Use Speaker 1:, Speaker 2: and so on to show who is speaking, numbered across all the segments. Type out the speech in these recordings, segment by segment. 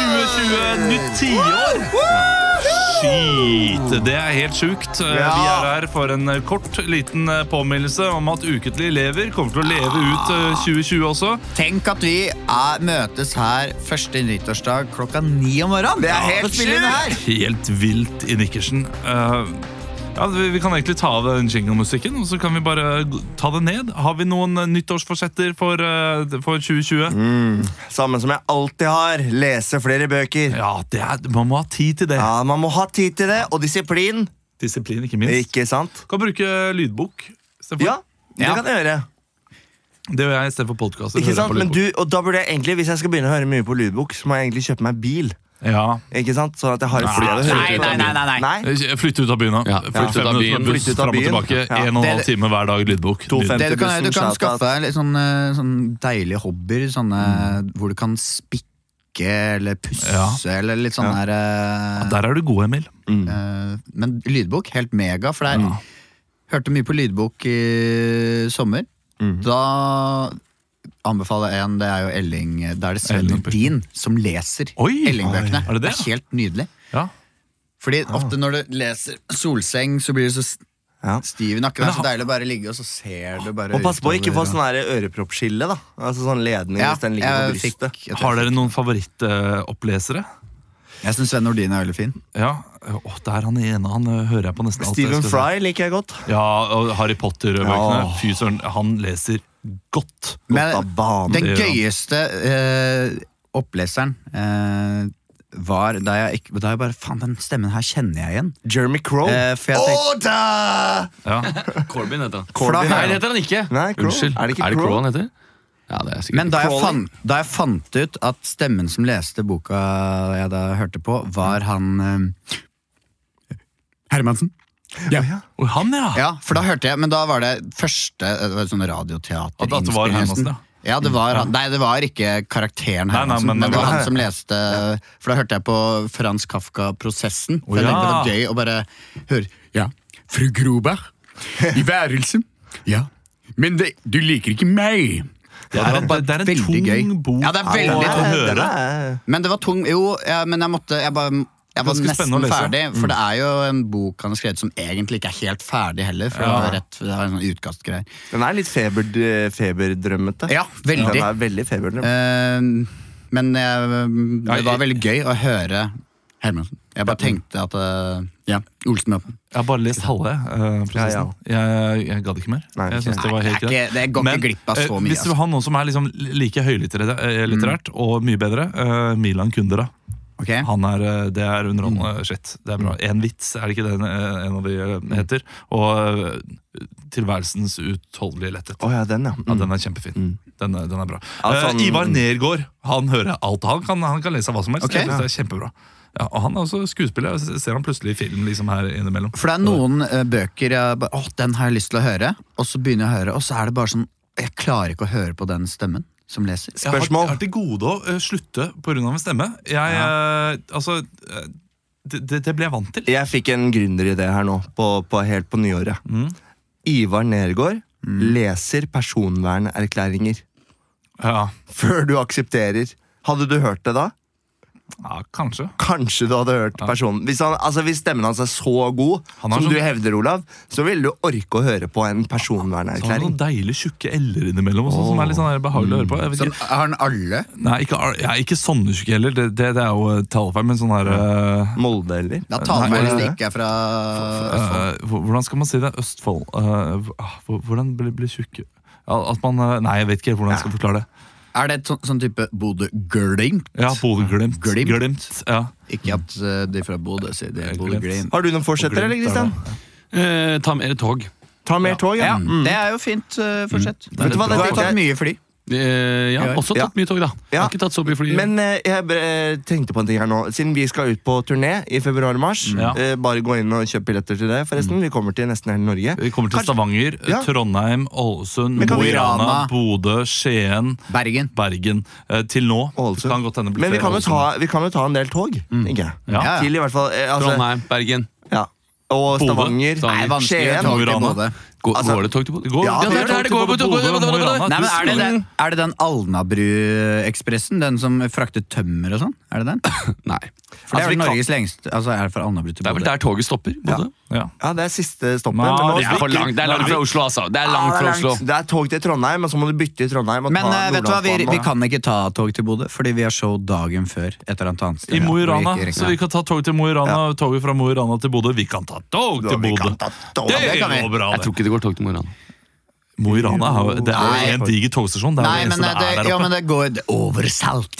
Speaker 1: eh, nytt tiår! Shit, det er helt sjukt. Eh,
Speaker 2: Ja.
Speaker 1: Vi er her for en eh, kort liten eh, påminnelse om at Uketlig lever kommer til å leve ut eh, 2020 også.
Speaker 2: Tenk at vi er, møtes her første nyttårsdag klokka ni om morgenen. Det er helt sjukt!
Speaker 1: Helt vilt i nikkersen. Eh, ja, vi, vi kan egentlig ta av den jinglemusikken, og så kan vi bare g- ta det ned. Har vi noen eh, nyttårsforsetter for, eh, for 2020?
Speaker 3: Samme som jeg alltid har. Lese flere bøker.
Speaker 1: Ja, det er, man må ha tid til det.
Speaker 3: Ja, Man må ha tid til det, og disiplin.
Speaker 1: Disiplin, ikke minst.
Speaker 3: Ikke sant?
Speaker 1: Kan bruke lydbok. Steffen.
Speaker 3: Ja, det
Speaker 2: Ja.
Speaker 3: kan jeg gjøre.
Speaker 1: Det gjør jeg istedenfor podkaster.
Speaker 3: Ikke sant? Men du, og da burde jeg egentlig, Hvis jeg skal begynne å høre mye på lydbok, så må jeg egentlig kjøpe meg bil.
Speaker 1: Ja.
Speaker 3: Ikke sant? Sånn at jeg har et sted å høre
Speaker 2: Nei,
Speaker 3: på.
Speaker 2: nei, nei, nei, nei.
Speaker 3: Nei?
Speaker 1: Flytte ut av byen, da.
Speaker 4: Ja,
Speaker 1: Flytte
Speaker 4: flytte
Speaker 1: fem
Speaker 4: ut av
Speaker 1: minutter
Speaker 4: byen.
Speaker 1: med buss
Speaker 3: Flytte ut av
Speaker 1: fram og
Speaker 3: byen.
Speaker 1: tilbake.
Speaker 3: Ja.
Speaker 1: En og en halv
Speaker 2: Det-
Speaker 1: time hver dag lydbok. Nydelig.
Speaker 3: 2,50.
Speaker 2: Det du kan, gjøre, du kan
Speaker 3: Bussen,
Speaker 2: skaffe
Speaker 3: shout-out.
Speaker 2: deg litt sånne, sånne deilige hobbyer, sånne hvor du kan spikke eller pusse
Speaker 1: Mm. Ja.
Speaker 2: eller litt sånn her eh,
Speaker 1: Der er du god, Emil.
Speaker 2: eh, Men lydbok, helt mega, for jeg hørte mye på lydbok i sommer.
Speaker 1: Mm.
Speaker 2: Da anbefaler jeg en, det er jo Elling Da er det Sven
Speaker 1: Elling-bøkene.
Speaker 2: Nordin som leser
Speaker 1: Oi!
Speaker 2: Elling-bøkene.
Speaker 1: Oi, er det det?
Speaker 2: det er helt nydelig.
Speaker 1: Ja.
Speaker 2: Fordi ofte når du leser Solseng, så blir du så s-
Speaker 3: Ja.
Speaker 2: stiv i nakken. Det er
Speaker 1: Men
Speaker 2: så
Speaker 1: det
Speaker 2: deilig å bare ligge, og så ser du bare
Speaker 3: Og pass på å ikke få
Speaker 2: utover.
Speaker 3: sånn her øreproppskille. da Altså sånn ledning
Speaker 2: ja,
Speaker 3: hvis den ligger på
Speaker 2: jeg
Speaker 3: brystet.
Speaker 2: fikk- jeg tror-
Speaker 1: Har dere noen favorittopplesere?
Speaker 2: Jeg syns Sven Nordin er veldig fin.
Speaker 1: Ja. Å, der han ene han eh, hører jeg på nesten alt. jeg skal
Speaker 3: Stephen
Speaker 1: si.
Speaker 3: Fry liker jeg godt.
Speaker 1: Ja, og Harry Potter-bøkene.
Speaker 3: Ja.
Speaker 1: Fy søren, han leser godt.
Speaker 2: Men
Speaker 3: av banen.
Speaker 2: den
Speaker 1: Det gjør han.
Speaker 2: gøyeste eh, oppleseren eh, var da jeg, ikke, da jeg bare Faen, den stemmen her kjenner jeg igjen.
Speaker 3: Jeremy Crow.
Speaker 2: Eh, for jeg tenkte-
Speaker 3: Order!
Speaker 1: Ja.
Speaker 4: Corbyn heter han.
Speaker 2: For da-
Speaker 3: Corbyn
Speaker 4: Nei,
Speaker 3: er
Speaker 4: det heter han ikke.
Speaker 3: Nei, Crow.
Speaker 4: Unnskyld.
Speaker 3: Er det ikke Crow?
Speaker 4: Crow han heter? Ja, det er sikkert.
Speaker 2: Men da jeg,
Speaker 3: Crawling.
Speaker 2: fant, da jeg fant ut at stemmen som leste boka jeg da hørte på, var han eh, Hermansen. Ja.
Speaker 1: Oi, han, ja!
Speaker 2: Ja, for da hørte jeg, men da var det første det var sånn radioteater
Speaker 1: At- at det var Hermansen, ja.
Speaker 2: Ja, det var han. Nei, det var ikke karakteren
Speaker 1: Nei, nei,
Speaker 2: Hermansen,
Speaker 1: men
Speaker 2: men, det
Speaker 1: det
Speaker 2: var
Speaker 1: var-
Speaker 2: han som leste For da hørte jeg på Frans Kafka-prosessen. For
Speaker 1: Å,
Speaker 2: jeg
Speaker 1: ja.
Speaker 2: tenkte det var gøy å bare høre Ja, fru Groberg. I værelset. Ja. Men du liker ikke meg.
Speaker 1: Det er, en- det er en
Speaker 2: veldig
Speaker 1: tung
Speaker 2: gøy.
Speaker 1: bok
Speaker 2: Ja, det er
Speaker 1: å-
Speaker 2: veldig-
Speaker 1: å
Speaker 3: Den
Speaker 1: høre.
Speaker 3: er-
Speaker 2: Men det var tung Jo, ja, men jeg måtte Jeg, bare, jeg var
Speaker 1: Ganske
Speaker 2: nesten
Speaker 1: spennende å lese. Mm.
Speaker 2: ferdig, for det er jo en bok han har skrevet som egentlig ikke er helt ferdig heller. For det var rett det var en sånn utkastgreier.
Speaker 3: Den er litt feber, eh, feberdrømmete.
Speaker 2: Ja, veldig.
Speaker 3: Den er veldig feberdrømmete.
Speaker 2: Eh, men jeg, det
Speaker 1: jeg-
Speaker 2: var veldig gøy å høre Hermansen. Jeg bare tenkte at eh, Ja, Olsen Møppen.
Speaker 1: Jeg har bare lest halve eh, prosessen. Jeg, jeg gadd ikke mer.
Speaker 3: Nei,
Speaker 1: jeg
Speaker 3: ikke.
Speaker 1: synes det var
Speaker 2: Nei,
Speaker 1: helt
Speaker 2: det er ikke-
Speaker 1: greit.
Speaker 2: det går ikke
Speaker 1: Men,
Speaker 2: glipp av så
Speaker 1: eh,
Speaker 2: mye, altså. Mm.
Speaker 1: Hvis du har noen som er liksom like høylitterært og mye bedre, eh, Milan Kundera.
Speaker 2: Ok?
Speaker 1: Han er, eh, det er
Speaker 2: Mm.
Speaker 1: underholdende shit. Det er bra. En vits, er det ikke det en, en av de eh, heter? Og eh, tilværelsens utholdelige letthet.
Speaker 3: Å ja, den, ja.
Speaker 1: Ja,
Speaker 3: Mm.
Speaker 1: den er kjempefin. Den, er, den er bra.
Speaker 3: Altså,
Speaker 1: Eh,
Speaker 2: sånn-
Speaker 3: han-
Speaker 1: Ivar Nergård. Han hører alt. Han kan, han kan lese hva som helst.
Speaker 2: Ok.
Speaker 1: Jeg synes det er kjempebra. Ja, og han er også skuespiller. Jeg s- ser han plutselig i film liksom her innimellom.
Speaker 2: For det er noen eh, bøker jeg bare Å, den har jeg lyst til å høre. Og så begynner jeg å høre, og så er det bare sånn Jeg klarer ikke å høre på den stemmen som leser.
Speaker 1: Jeg har,
Speaker 3: Spørsmål?
Speaker 1: jeg har til gode å eh, slutte pga. en stemme. Jeg, eh, altså, eh, det, det- det ble jeg vant til.
Speaker 3: Jeg fikk en gründeridé her nå, på, på, helt på nyåret. Ivar Nergård leser personvernerklæringer
Speaker 1: Ja,
Speaker 3: før du aksepterer. Hadde du hørt det da?
Speaker 1: ja kanskje.
Speaker 3: Kanskje du hadde hørt personen hvis, han, altså hvis stemmen hans er så god
Speaker 1: Han
Speaker 3: som
Speaker 1: har sånn-
Speaker 3: du hevder, Olav, så ville du orke å høre på
Speaker 1: Så han
Speaker 3: en
Speaker 1: har
Speaker 3: personvernerklæring.
Speaker 1: noen deilige tjukke l-er innimellom også, som er litt sånn her behagelig å høre på. Jeg vet
Speaker 2: Sånn,
Speaker 1: ikke.
Speaker 2: har den alle?
Speaker 1: Nei, ikke, ja, ikke sånne tjukke l-er. Det, det, det er jo eh, talefeil, men sånn her eh,
Speaker 3: Molde, eller?
Speaker 2: Da taler
Speaker 1: Nei,
Speaker 2: man hvis det
Speaker 3: det-
Speaker 2: ikke er fra
Speaker 1: Eh, hvor- hvordan skal man si det? Østfold eh, hvor- ah, hvor- Hvordan blir bli tjukk? Ja, at man eh, Nei, jeg vet ikke hvordan jeg skal forklare det.
Speaker 2: Er det et sånn, sånn type Bodø-Glimt?
Speaker 1: Ja, Bodø-Glimt.
Speaker 2: Glimt.
Speaker 1: Glimt, Ja.
Speaker 2: Ikke at eh, de fra Bodø sier de er
Speaker 1: Glimt.
Speaker 2: Bodø-Glimt.
Speaker 3: Har du noen
Speaker 1: Og
Speaker 3: forsetter, eller,
Speaker 1: Glimt er
Speaker 3: Kristian?
Speaker 4: Eh, ta mer tog.
Speaker 3: Ta mer tog, ja. Mm.
Speaker 2: Det er jo fint uh,
Speaker 1: Mm.
Speaker 2: fortsett.
Speaker 3: Vet du hva,
Speaker 2: Du
Speaker 3: det
Speaker 2: har
Speaker 3: tenkte
Speaker 2: tatt
Speaker 3: jeg
Speaker 2: mye fly.
Speaker 4: Eh, ja, også tatt mye tog, da. Jeg
Speaker 3: Ja.
Speaker 4: har ikke tatt så mye fly.
Speaker 3: Men eh, jeg eh, tenkte på en ting her nå. Siden vi skal ut på turné i februar-mars,
Speaker 1: Ja.
Speaker 3: eh, bare gå inn og kjøp billetter til det,
Speaker 4: Mm.
Speaker 3: forresten. Vi kommer til nesten hele Norge.
Speaker 1: Vi kommer til
Speaker 3: Kanskje-
Speaker 1: Stavanger, eh,
Speaker 3: Ja.
Speaker 1: Trondheim, Ålesund,
Speaker 3: Men kan
Speaker 1: Mo
Speaker 3: vi-
Speaker 1: i Rana, Bodø, Skien,
Speaker 2: Bergen.
Speaker 1: Bergen. Eh, Til nå.
Speaker 3: Ålesund.
Speaker 1: Det Kan godt hende det blir
Speaker 3: Men vi
Speaker 1: flere
Speaker 3: kan, jo ta,
Speaker 1: Ålesund.
Speaker 3: vi kan jo ta en del tog,
Speaker 4: Mm.
Speaker 3: tenker jeg.
Speaker 1: Ja.
Speaker 2: Ja, ja.
Speaker 3: Til i hvert fall eh, altså,
Speaker 4: Trondheim, Bergen.
Speaker 3: ja. Og
Speaker 1: Bodø.
Speaker 3: Stavanger.
Speaker 4: Stavanger.
Speaker 1: Sånn
Speaker 2: Nei, vanskelig å
Speaker 3: Skien.
Speaker 2: ta
Speaker 1: Mo i
Speaker 2: til
Speaker 1: Rana.
Speaker 2: Bodø.
Speaker 4: Går,
Speaker 3: Altså-
Speaker 4: går det tog til Bodø?
Speaker 1: går-
Speaker 4: ja,
Speaker 3: det
Speaker 4: det,
Speaker 3: gjør
Speaker 4: er det, det går på
Speaker 1: tog til Bodø, Mo i Rana.
Speaker 4: Nei,
Speaker 2: Nei, men er det, den, er det den Alnabruekspressen? Den som frakter tømmer og sånn? Er det den?
Speaker 4: Nei.
Speaker 2: For det er
Speaker 3: Altså, vi
Speaker 2: vel
Speaker 3: kan-
Speaker 2: Norges lengste Altså er det fra Alnabru til
Speaker 4: Det er vel
Speaker 2: Bodø?
Speaker 4: der toget stopper? Bodø?
Speaker 1: Ja.
Speaker 3: Ja, det er siste
Speaker 1: Nei,
Speaker 3: stoppet. men nå
Speaker 1: det
Speaker 4: Det er for
Speaker 3: stikker-
Speaker 4: langt, det er langt fra Oslo, altså. Det er
Speaker 3: Ja,
Speaker 4: langt
Speaker 3: det,
Speaker 4: fra
Speaker 3: er
Speaker 4: Oslo.
Speaker 3: langt. det er tog til Trondheim, og så må du bytte i Trondheim. Og
Speaker 2: Men
Speaker 3: ta
Speaker 2: eh, vet du hva, vi,
Speaker 3: Nordlandsbanen.
Speaker 2: vi kan ikke ta tog til Bodø, fordi vi har show dagen før. Et eller annet annet sted.
Speaker 1: I Mo i
Speaker 2: hvor vi
Speaker 1: Rana.
Speaker 2: ikke rekker-
Speaker 1: Så vi kan ta tog til Mo i Rana. Toget fra Mo i Rana til Bodø. Vi kan ta tog til
Speaker 3: Vi
Speaker 1: Bodø!
Speaker 3: kan ta tog.
Speaker 1: Det
Speaker 2: kan vi.
Speaker 1: går bra,
Speaker 4: Jeg
Speaker 1: det.
Speaker 4: tror ikke det går tog til Mo i Rana.
Speaker 1: Mo i Rana er jo- det er
Speaker 2: Nei.
Speaker 1: jo en diger togstasjon. Det er
Speaker 2: Nei,
Speaker 1: jo det
Speaker 2: men
Speaker 1: eneste
Speaker 2: eh,
Speaker 1: det er
Speaker 2: det,
Speaker 1: der
Speaker 2: ja,
Speaker 1: oppe.
Speaker 2: men det går over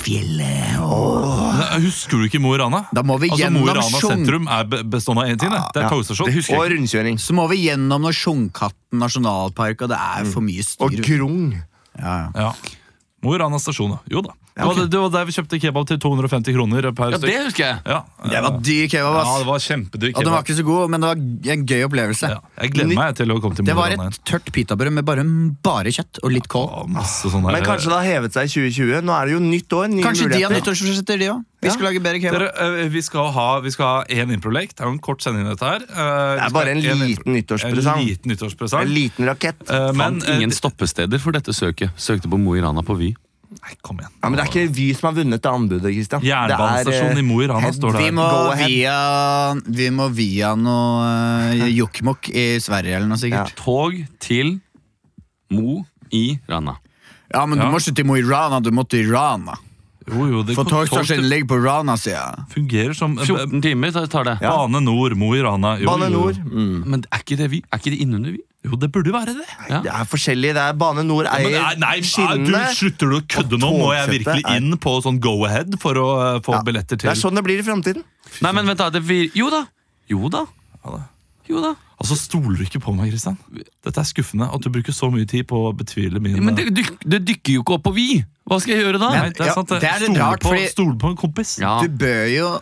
Speaker 2: Saltfjellet og
Speaker 1: Nei, Husker du ikke Mo i Rana?
Speaker 2: Da må vi
Speaker 1: Altså, Mo i
Speaker 2: gjennom
Speaker 1: Rana
Speaker 2: Skjong.
Speaker 1: sentrum er be- bestående av én ting. Det, det er
Speaker 3: Ja,
Speaker 1: togstasjon.
Speaker 4: det husker
Speaker 3: Og rundkjøring.
Speaker 2: Så må vi gjennom Norsjungkatten nasjonalpark, og det er for mye
Speaker 1: Mm.
Speaker 2: styr.
Speaker 3: Og Grung.
Speaker 2: Ja, ja.
Speaker 1: Ja. Mo i Rana stasjon, da. Jo da. Det var- Det var der vi kjøpte kebab til 250 kroner per
Speaker 4: Ja, det
Speaker 1: stykk.
Speaker 4: husker jeg.
Speaker 1: Ja,
Speaker 2: Det var dyr kebab,
Speaker 1: ja, det
Speaker 2: ass.
Speaker 1: var kjempedyr
Speaker 2: Og den var
Speaker 1: kebab.
Speaker 2: ikke så god, men det var en gøy opplevelse.
Speaker 1: Ja, jeg gleder meg til å komme til Mo
Speaker 2: Det
Speaker 1: i
Speaker 2: var
Speaker 1: Rana igjen.
Speaker 2: et tørt pitabrød med bare, bare kjøtt og litt kål.
Speaker 1: Og masse sånn der-
Speaker 3: Men kanskje det har hevet seg i 2020. Nå er det jo nytt år. Nye
Speaker 2: Kanskje de har
Speaker 3: muligheter.
Speaker 2: nyttårsforsetter, de òg. Vi skal lage bedre kebab.
Speaker 1: Dere, eh, vi skal ha Vi skal ha én improlek. Det er jo en kort sending, dette her. Eh, vi
Speaker 3: Det
Speaker 1: skal
Speaker 3: er bare
Speaker 1: ha
Speaker 3: en
Speaker 1: én impro-
Speaker 3: liten nyttårspresang.
Speaker 1: En liten nyttårspresang.
Speaker 3: En liten rakett.
Speaker 1: Eh, men
Speaker 4: Fant
Speaker 1: eh,
Speaker 4: ingen
Speaker 1: det-
Speaker 4: stoppesteder for dette søket. Søkte på Mo i Rana på Vy.
Speaker 1: Nei, kom igjen.
Speaker 3: Ja, men Det er ikke Vy som har vunnet det anbudet. Christian Det er, eh,
Speaker 1: Jernbanestasjonen i Mo i Rana står
Speaker 2: Vi
Speaker 1: det
Speaker 2: må,
Speaker 3: Go ahead.
Speaker 2: via, vi må via noe eh, jokkmokk i Sverige eller noe sikkert.
Speaker 4: Tog til Mo i Rana.
Speaker 2: Ja, men du
Speaker 1: Ja.
Speaker 2: må ikke til Mo i Rana, du må til Rana.
Speaker 1: her. Jo, jo, det
Speaker 2: For
Speaker 1: kon-
Speaker 2: togstasjonen
Speaker 1: tog-
Speaker 2: ligger på Rana-sida.
Speaker 1: fungerer som eh,
Speaker 4: 14 timer tar- tar det.
Speaker 1: eh, Bane Nor, Mo i Rana. Jo,
Speaker 3: Bane
Speaker 1: jo, jo.
Speaker 3: Nor. Mm.
Speaker 4: Men er ikke det Vy? Er ikke det innunder Vy?
Speaker 1: Jo, det burde være det.
Speaker 4: Ja.
Speaker 3: Det er forskjellig. Det er Bane Nor
Speaker 1: Men det
Speaker 3: eier
Speaker 1: er, nei, ah, du
Speaker 3: skinnene.
Speaker 1: Slutter du å kødde
Speaker 3: og
Speaker 1: nå? Må jeg
Speaker 3: togsettet
Speaker 1: virkelig
Speaker 3: er-
Speaker 1: inn på sånn go-ahead for å eh, få
Speaker 3: Ja,
Speaker 1: billetter
Speaker 3: Det
Speaker 1: til
Speaker 3: er sånn det blir i framtiden.
Speaker 4: Nei, men vent da, det vir... Jo da! Jo da.
Speaker 1: Ja, da.
Speaker 4: Jo da.
Speaker 1: Altså, Stoler du ikke på meg, Kristian? Dette er skuffende. At du bruker så mye tid på å betvile min
Speaker 4: Men det,
Speaker 1: eh,
Speaker 4: dyk- det dykker jo ikke opp på Vy! Hva skal jeg gjøre da?
Speaker 1: Nei, det er
Speaker 2: ja,
Speaker 1: sant. det.
Speaker 2: det er litt
Speaker 1: Stole
Speaker 2: rart,
Speaker 1: på,
Speaker 2: fordi-
Speaker 1: stole på en kompis.
Speaker 4: Ja.
Speaker 2: Du bør jo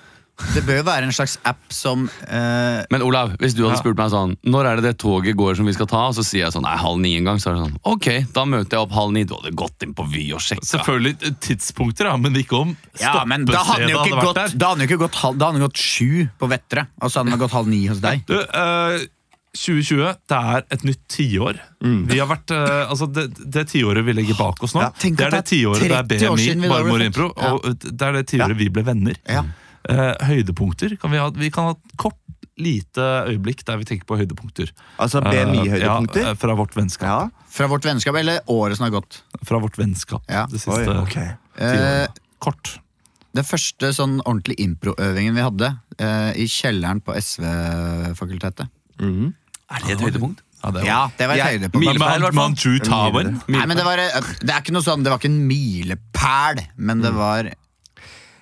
Speaker 2: Det bør jo være en slags app som eh,
Speaker 4: Men Olav, hvis du hadde
Speaker 1: Ja.
Speaker 4: spurt meg sånn Når er det det toget går som vi skal ta? Og så sier jeg sånn, nei, halv ni en gang Så er det sånn, ok, da møter jeg opp halv ni Du hadde gått inn på Vy og sjekka
Speaker 1: Selvfølgelig eh, tidspunkter, ja, men ikke om
Speaker 2: ja, men da hadde han jo ikke gått, da hadde han jo ikke gått, halv- da hadde han gått sju på Vettre, og så hadde han gått halv ni hos deg.
Speaker 1: Du, eh, 2020, det er et nytt tiår.
Speaker 2: Mm.
Speaker 1: Vi har vært, eh, altså det, det tiåret vi legger bak oss nå,
Speaker 3: Ja,
Speaker 2: tenk
Speaker 1: det
Speaker 2: at
Speaker 1: er
Speaker 2: det
Speaker 1: det
Speaker 2: er
Speaker 1: tiåret det er
Speaker 2: 30 år siden
Speaker 1: BMI,
Speaker 2: vi
Speaker 1: Bare
Speaker 2: laget
Speaker 1: Mor
Speaker 2: det.
Speaker 1: Impro, og det er det tiåret vi ble venner.
Speaker 2: Ja.
Speaker 1: Eh, høydepunkter kan vi ha. Vi kan ha et kort, lite øyeblikk der vi tenker på høydepunkter.
Speaker 3: Altså
Speaker 1: Eh,
Speaker 3: BMI-høydepunkter.
Speaker 1: ja, eh, fra vårt vennskap.
Speaker 3: Ja.
Speaker 2: Fra vårt vennskap, eller året som har gått.
Speaker 1: Fra vårt vennskap
Speaker 2: Ja.
Speaker 1: det
Speaker 3: Oi,
Speaker 1: siste
Speaker 3: ok.
Speaker 2: Eh,
Speaker 1: tiåret. Kort.
Speaker 2: Den første sånn ordentlige improøvingen vi hadde, eh, i kjelleren på SV-fakultetet.
Speaker 3: Mhm.
Speaker 4: Er det et høydepunkt?
Speaker 1: Ja, det var-
Speaker 2: Ja, det var et
Speaker 3: Jeg-
Speaker 2: høydepunkt.
Speaker 1: Men
Speaker 4: Milepæl, i hvert fall.
Speaker 1: Manchu Towen.
Speaker 3: Mile.
Speaker 2: Nei, men det var, det er ikke noe sånn, det var ikke en milepæl, men det var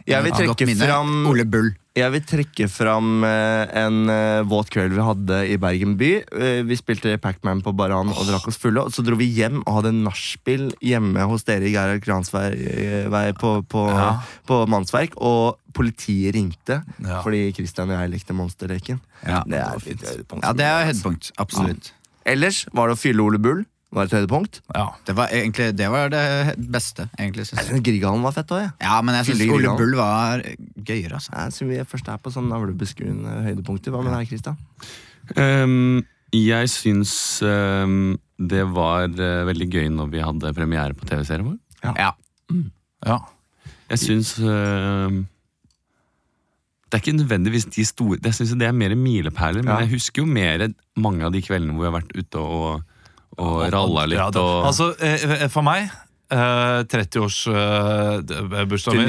Speaker 3: Jeg
Speaker 2: et
Speaker 3: vil
Speaker 2: godt
Speaker 3: trekke
Speaker 2: minne.
Speaker 3: fram
Speaker 2: Ole Bull.
Speaker 3: Jeg vil trekke fram eh, en eh, våt kveld vi hadde i Bergen by. Eh, Vi spilte Pac-Man på Baran og drakk oss fulle. Og så dro vi hjem og hadde nachspiel hjemme hos dere i Gerhard Kransvei eh, vei på, på, på Mannsverk. Og politiet ringte
Speaker 1: Ja.
Speaker 3: fordi Christian og jeg likte Monsterleken.
Speaker 2: Ja,
Speaker 3: det er et høydepunkt.
Speaker 2: Ja, det er høydepunkt. Absolutt.
Speaker 3: Ellers var det å fylle Ole Bull. Var et høydepunkt.
Speaker 1: Ja.
Speaker 2: Det var egentlig det, var det beste, egentlig, synes jeg.
Speaker 3: Grieghallen var fett òg, jeg.
Speaker 2: Ja, men jeg syns
Speaker 3: Fyllegrill,
Speaker 2: Ole
Speaker 3: ja.
Speaker 2: Bull var gøyere, altså.
Speaker 3: Jeg synes vi først er på sånn navlebeskuen eh, høydepunkter. Hva med deg, Christian?
Speaker 4: Ehm, jeg syns ehm, det var eh, veldig gøy når vi hadde premiere på TV-serien vår.
Speaker 2: Ja.
Speaker 1: ja.
Speaker 4: Jeg syns ehm, Det er ikke nødvendigvis de store Jeg syns det er mer milepæler, men
Speaker 3: Ja.
Speaker 4: jeg husker jo mer mange av de kveldene hvor vi har vært ute og, og ralla litt.
Speaker 1: Ja, det-
Speaker 4: og,
Speaker 1: Altså, eh, eh, for meg eh, 30-årsbursdagen
Speaker 3: Til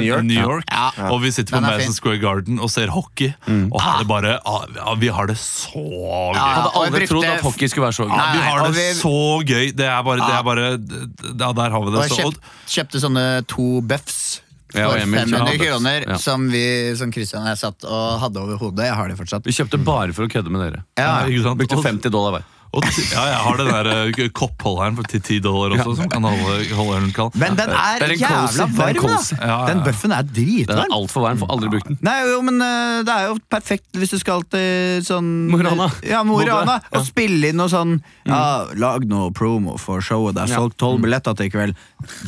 Speaker 1: eh, min
Speaker 3: New York.
Speaker 1: i New York.
Speaker 2: Ja.
Speaker 1: Og vi sitter på
Speaker 2: Den er
Speaker 1: Madison
Speaker 2: fin.
Speaker 1: Square Garden og ser hockey. Og her er det bare ah, ja, Vi har det så gøy!
Speaker 4: jeg hadde
Speaker 2: og jeg
Speaker 4: aldri
Speaker 2: brukte-
Speaker 4: trodd at hockey skulle være så gøy.
Speaker 2: Nei,
Speaker 1: vi har det
Speaker 2: og vi-
Speaker 1: så gøy! Det er bare, det er bare Ja, der har vi
Speaker 2: Og
Speaker 1: det.
Speaker 2: jeg
Speaker 1: Så,
Speaker 2: kjøpt, kjøpte sånne to bøffs for
Speaker 4: Ja, og Emil kjøpte
Speaker 2: 500
Speaker 4: bøffs.
Speaker 2: kroner,
Speaker 4: Ja.
Speaker 2: som, vi, som Christian og jeg satt og hadde over hodet. Jeg har de fortsatt.
Speaker 4: Vi kjøpte bare for å kødde med dere.
Speaker 2: Ja,
Speaker 1: Ja, ikke sant?
Speaker 4: Brukte
Speaker 1: Og-
Speaker 4: 50 dollar hver.
Speaker 1: og, ti- ja, jeg har den der eh, koppholderen for til 10 dollar også, som kan holde, holde ølen kald.
Speaker 2: Men den er,
Speaker 4: Det er en cozy.
Speaker 2: jævla
Speaker 4: Det er en
Speaker 2: varm,
Speaker 4: cozy.
Speaker 2: da! Den bøffen er
Speaker 4: Den er
Speaker 2: dritvarm.
Speaker 4: altfor varm, får aldri brukt den.
Speaker 2: Nei, jo, men eh, det er jo perfekt hvis du skal til sånn
Speaker 4: Mo i Rana.
Speaker 2: Ja, Mo i
Speaker 4: Bodø. Mm.
Speaker 2: Rana. Og spille inn noe sånn ja, Lag noe promo for showet. Det er
Speaker 4: Ja. Mm.
Speaker 2: solgt tolv billetter til i kveld.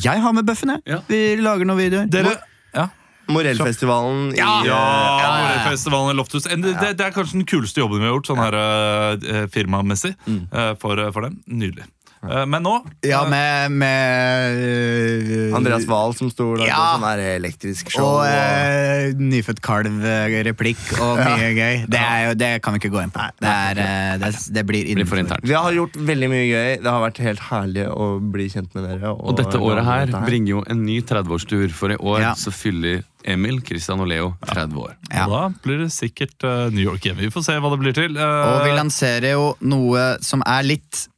Speaker 2: Jeg har med bøffen, jeg.
Speaker 4: Ja.
Speaker 2: Vi lager noen videoer.
Speaker 1: Dere
Speaker 2: Hvor-
Speaker 1: ja.
Speaker 3: Morellfestivalen i
Speaker 1: Ja!
Speaker 3: eh,
Speaker 1: Morellfestivalen i Lofthus. En- Det, det, det er kanskje den kuleste jobben vi har gjort sånn her eh, firmamessig eh, for, for dem. Nydelig. Eh, men nå
Speaker 2: Ja, med, med øh,
Speaker 3: Andreas Wahl som sto der på
Speaker 2: Ja.
Speaker 3: sånn her elektrisk show.
Speaker 2: Og
Speaker 3: og-
Speaker 2: eh, nyfødt kalv-replikk og mye gøy. Det, er jo, det kan vi ikke gå inn på. Det, er, eh, det, det blir
Speaker 4: Blir for
Speaker 2: innenfor.
Speaker 4: internt.
Speaker 3: Vi har gjort veldig mye gøy. Det har vært helt herlig å bli kjent med dere.
Speaker 4: Og dette året her
Speaker 3: Dette
Speaker 4: bringer jo en ny 30-årstur, for i år
Speaker 2: Ja.
Speaker 4: så fyller Emil, Christian og Leo 30 år.
Speaker 2: Ja.
Speaker 1: Da blir det sikkert eh, New York hjemme. Vi får se hva det blir til. Eh,
Speaker 2: Og vi lanserer jo noe som er litt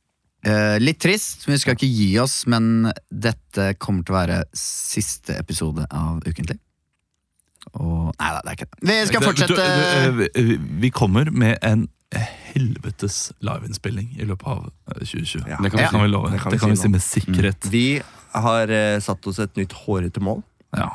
Speaker 2: eh, litt trist. Vi skal ikke gi oss, men dette kommer til å være siste episode av Ukentlig. Og Nei da, det er ikke det. Vi skal
Speaker 1: Det-
Speaker 2: fortsette
Speaker 1: du- du- eh, vi- vi kommer med en helvetes liveinnspilling i løpet av eh, 2020.
Speaker 3: Ja.
Speaker 4: Det kan vi si.
Speaker 1: vi love.
Speaker 3: Det kan vi
Speaker 1: Det kan vi
Speaker 3: si
Speaker 1: si
Speaker 3: nå. Mm.
Speaker 1: med sikkerhet.
Speaker 3: Vi har eh, satt oss et nytt hårete mål,
Speaker 1: Ja.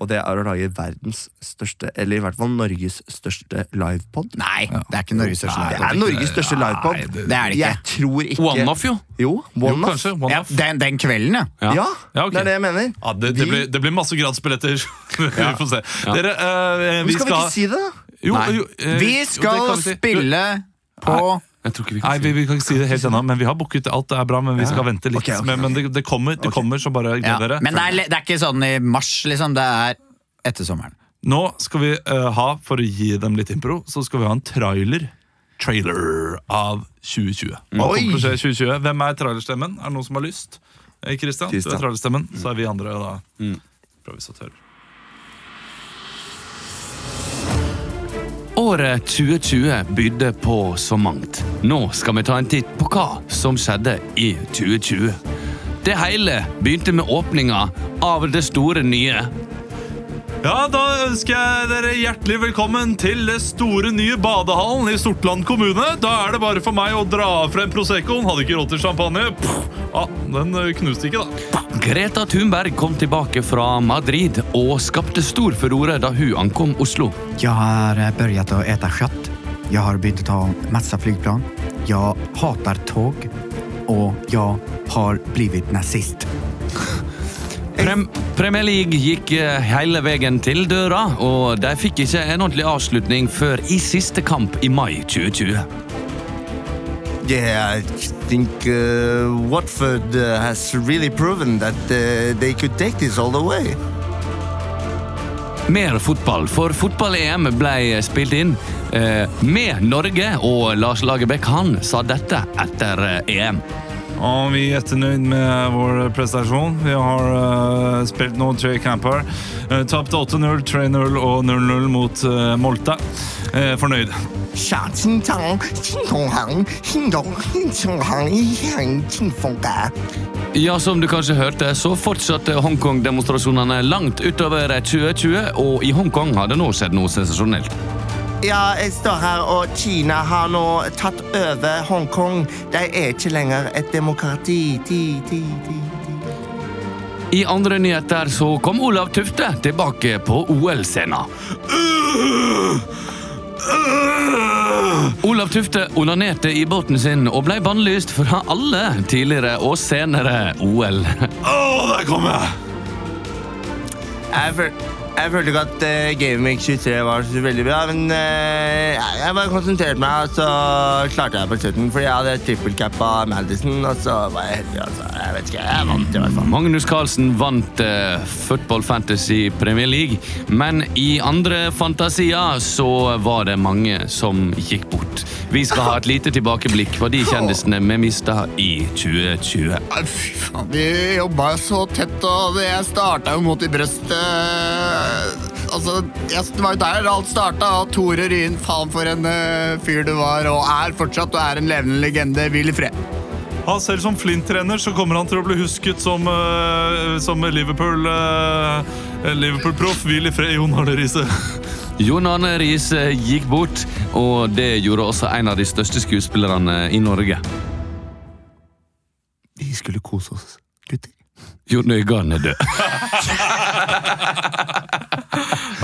Speaker 3: og det er å lage verdens største, eller i hvert fall Norges største livepod.
Speaker 2: Nei, det er ikke Norges største
Speaker 3: Det
Speaker 2: livepod.
Speaker 3: er Norges største
Speaker 1: Nei,
Speaker 3: livepod.
Speaker 1: det-
Speaker 2: Det er det
Speaker 3: Jeg
Speaker 2: ikke.
Speaker 3: tror ikke
Speaker 4: One-off, jo!
Speaker 3: Jo,
Speaker 1: Jo,
Speaker 3: one off.
Speaker 1: kanskje. One
Speaker 2: Ja,
Speaker 1: off.
Speaker 2: den, den kvelden, ja.
Speaker 4: Ja.
Speaker 3: Ja,
Speaker 1: Ja, ok.
Speaker 3: det er det jeg mener.
Speaker 1: Ja, det, det,
Speaker 3: Vi-
Speaker 1: blir, det blir masse gradsbilletter. vi får se. Dere, eh,
Speaker 3: Men
Speaker 1: vi
Speaker 3: skal vi ikke si det, da?
Speaker 1: Jo,
Speaker 4: Nei.
Speaker 1: jo, eh,
Speaker 2: Vi
Speaker 1: jo, det
Speaker 2: skal
Speaker 1: kan vi si.
Speaker 2: spille på
Speaker 4: Jeg tror ikke
Speaker 1: Nei,
Speaker 4: vi kan
Speaker 1: vi,
Speaker 4: si det.
Speaker 1: vi kan ikke si det helt ennå, men vi har booket alt. er bra, men vi skal vente litt.
Speaker 3: Ok, ok,
Speaker 1: Men, men det, det kommer, det kommer, så bare gled
Speaker 2: ja.
Speaker 1: dere.
Speaker 2: Men det er, li- det er ikke sånn i mars, liksom. Det er etter sommeren.
Speaker 1: Nå skal vi eh, ha, for å gi dem litt impro, så skal vi ha en trailer. Trailer av 2020. Hva
Speaker 3: Oi!
Speaker 1: kommer til å skje i 2020? Hvem er trailerstemmen? Er det noen som har lyst? Eh, Christian, du
Speaker 3: Christian.
Speaker 1: er trailerstemmen. Så er vi andre da improvisatører.
Speaker 4: Året 2020 bydde på så mangt. Nå skal vi ta en titt på hva som skjedde i 2020. Det hele begynte med åpninga av det store nye.
Speaker 1: Ja, da ønsker jeg dere hjertelig velkommen til det store nye badehallen i Sortland kommune. Da er det bare for meg å dra frem Proseccoen. Hadde ikke råd til champagne. Pff, ah, den eh, knuste ikke, da.
Speaker 4: Greta Thunberg kom tilbake fra Madrid og skapte stor furore da hun ankom Oslo.
Speaker 2: Jeg har begynt å ete kjøtt. Jeg har begynt å ta masse flyplan. Jeg hater tog. Og jeg har blitt nazist.
Speaker 4: Prem Premier League gikk eh, hele veien til døra, og de fikk ikke en ordentlig avslutning før i siste kamp i mai 2020.
Speaker 3: Yeah, I think uh, Watford uh, has really proven that uh, they could take this all the way.
Speaker 4: Mer fotball, for fotball-EM ble spilt inn eh, med Norge, og Lars Lagerbäck han sa dette etter eh, EM.
Speaker 1: Og vi er etternøyd med vår prestasjon. Vi har eh, spilt nå tre kamper. Uh, Tapt 8-0, 3-0 og 0-0 mot eh, Molta. Eh, fornøyd.
Speaker 5: 小金藏金同行，金同金行一向进风格。
Speaker 4: Ja, som du kanskje hørte, så fortsatte Hongkong-demonstrasjonene langt utover 2020, og i Hongkong har det nå skjedd noe sensasjonelt.
Speaker 5: Ja, jeg står her, og Kina har nå tatt over Hongkong. De er ikke lenger et demokrati. De, de, de, de.
Speaker 4: I andre nyheter så kom Olav Tufte tilbake på OL-scenen. Olav Tufte onanerte i båten sin og ble bannlyst fra alle tidligere og senere OL.
Speaker 1: Å, der kom jeg!
Speaker 3: Jeg, føl jeg følte ikke at uh, Gaming 23 var så veldig bra, men eh, jeg bare konsentrerte meg, og så klarte jeg på slutten, fordi jeg hadde trippelcappa Madison, og så var jeg heldig, altså. Jeg vet ikke, jeg vant i hvert fall.
Speaker 4: Magnus Carlsen vant eh, Football Fantasy Premier League, men i andre fantasier så var det mange som gikk bort. Vi skal ha et lite tilbakeblikk på de kjendisene vi mista i 2020.
Speaker 2: Fy faen, vi jobba jo så tett, og det- jeg starta jo mot i brøstet. Altså, jeg, det var jo der alt starta. Og Tore Ryen, faen for en eh, fyr du var, og er fortsatt, og er en levende legende. Hvil i fred.
Speaker 1: Han selv som Flint-trener så kommer han til å bli husket som, eh, som Liverpool, eh, Liverpool-proff. Hvil i fred, Jon Arne Riise.
Speaker 4: Jon Arne Riise gikk bort, og det gjorde også en av de største skuespillerne i Norge.
Speaker 3: Vi skulle kose oss, gutter.
Speaker 4: Jon Øigarden er død.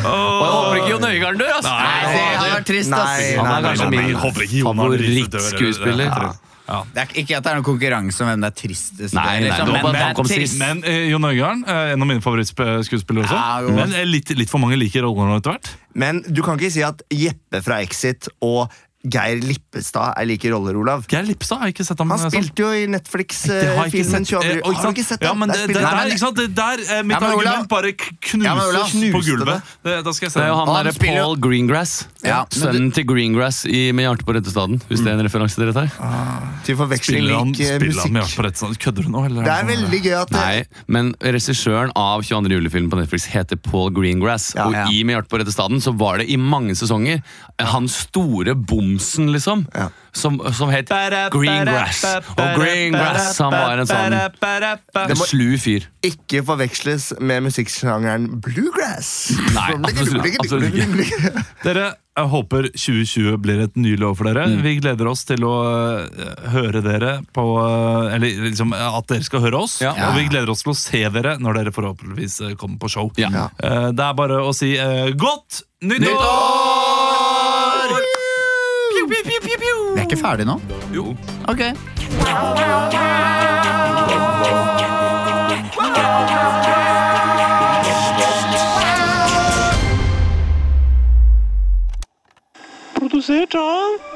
Speaker 4: Og jeg håper ikke Jon Øigarden dør, ass!
Speaker 1: Nei,
Speaker 6: Det hadde vært trist, ass.
Speaker 3: Nei,
Speaker 4: Han
Speaker 3: nei,
Speaker 4: er
Speaker 3: nei,
Speaker 4: kanskje
Speaker 3: nei, nei.
Speaker 4: min
Speaker 1: Håper ikke Jon Arne Riise dør, eller-
Speaker 4: favorittskuespiller.
Speaker 1: Ja. Ja.
Speaker 6: Det er ikke at det er noen konkurranse om hvem det er tristest
Speaker 4: Nei, nei,
Speaker 6: liksom,
Speaker 4: det var bare
Speaker 6: men
Speaker 4: han kom sist.
Speaker 1: sånn. Men eh, Jon Øigarden, eh, en av mine favorittskuespillere også.
Speaker 6: Ja, jo.
Speaker 1: men eh, litt, litt for mange liker rollene nå etter hvert.
Speaker 3: Men du kan ikke si at Jeppe fra Exit og Geir Lippestad er like roller, Olav.
Speaker 1: Geir Lippstad har jeg ikke sett ham
Speaker 3: Han
Speaker 1: eh, sånn.
Speaker 3: spilte jo
Speaker 1: Det
Speaker 3: i
Speaker 1: har jeg ikke
Speaker 3: Netflix-filmen
Speaker 1: sett. Eh,
Speaker 3: 22.
Speaker 1: og ikke
Speaker 3: Har du
Speaker 1: sant?
Speaker 3: ikke sett
Speaker 1: Ja, men det, det,
Speaker 3: spiller-
Speaker 1: der,
Speaker 3: Nei, men-
Speaker 1: ikke sant? det der, eh, Mitt
Speaker 6: Ja, men Olav-
Speaker 1: argument bare k- knuses
Speaker 6: Ja, men Olav
Speaker 1: på
Speaker 3: knuste det.
Speaker 1: gulvet. Det, da skal jeg se
Speaker 4: Det er jo han
Speaker 6: Han
Speaker 4: derre
Speaker 6: spiller jo-
Speaker 4: Paul Greengrass.
Speaker 6: Ja, men
Speaker 4: Sønnen til Greengrass i Med hjertet på rette staden. Hvis det er en referanse dere tar.
Speaker 3: Til forveksling
Speaker 1: Spiller han,
Speaker 3: lik eh,
Speaker 1: spiller han med
Speaker 3: musikk.
Speaker 1: hjertet på rett side? Kødder du nå? Eller?
Speaker 3: Det er veldig gøy at det,
Speaker 4: Nei, men regissøren av 22. julefilm på Netflix heter Paul Greengrass.
Speaker 3: Ja,
Speaker 4: og
Speaker 3: ja.
Speaker 4: i Med hjertet på rette staden så var det i mange sesonger han store bomsen, liksom.
Speaker 3: Ja.
Speaker 4: Som, som het Greengrass. Og Greengrass han var en sånn en slu fyr.
Speaker 3: ikke forveksles med musikksjangeren bluegrass.
Speaker 4: Nei,
Speaker 3: Sånn,
Speaker 1: Altså,
Speaker 3: ligger-
Speaker 4: absolutt-
Speaker 3: ligger-
Speaker 4: absolutt ikke.
Speaker 3: ligger-
Speaker 1: Dere, jeg håper 2020 blir et nylig år for dere.
Speaker 4: Mm.
Speaker 1: Vi gleder oss til å eh, høre dere på eh, Eller liksom eh, at dere skal høre oss.
Speaker 4: Ja.
Speaker 1: Og vi gleder oss til å se dere når dere forhåpentligvis eh, kommer på show.
Speaker 4: Ja.
Speaker 1: Eh, Det er bare å si eh, godt nytt
Speaker 4: Nytt
Speaker 1: år!
Speaker 6: Vi er ikke ferdig nå.
Speaker 4: Jo.
Speaker 6: Ok.
Speaker 7: produzir, John.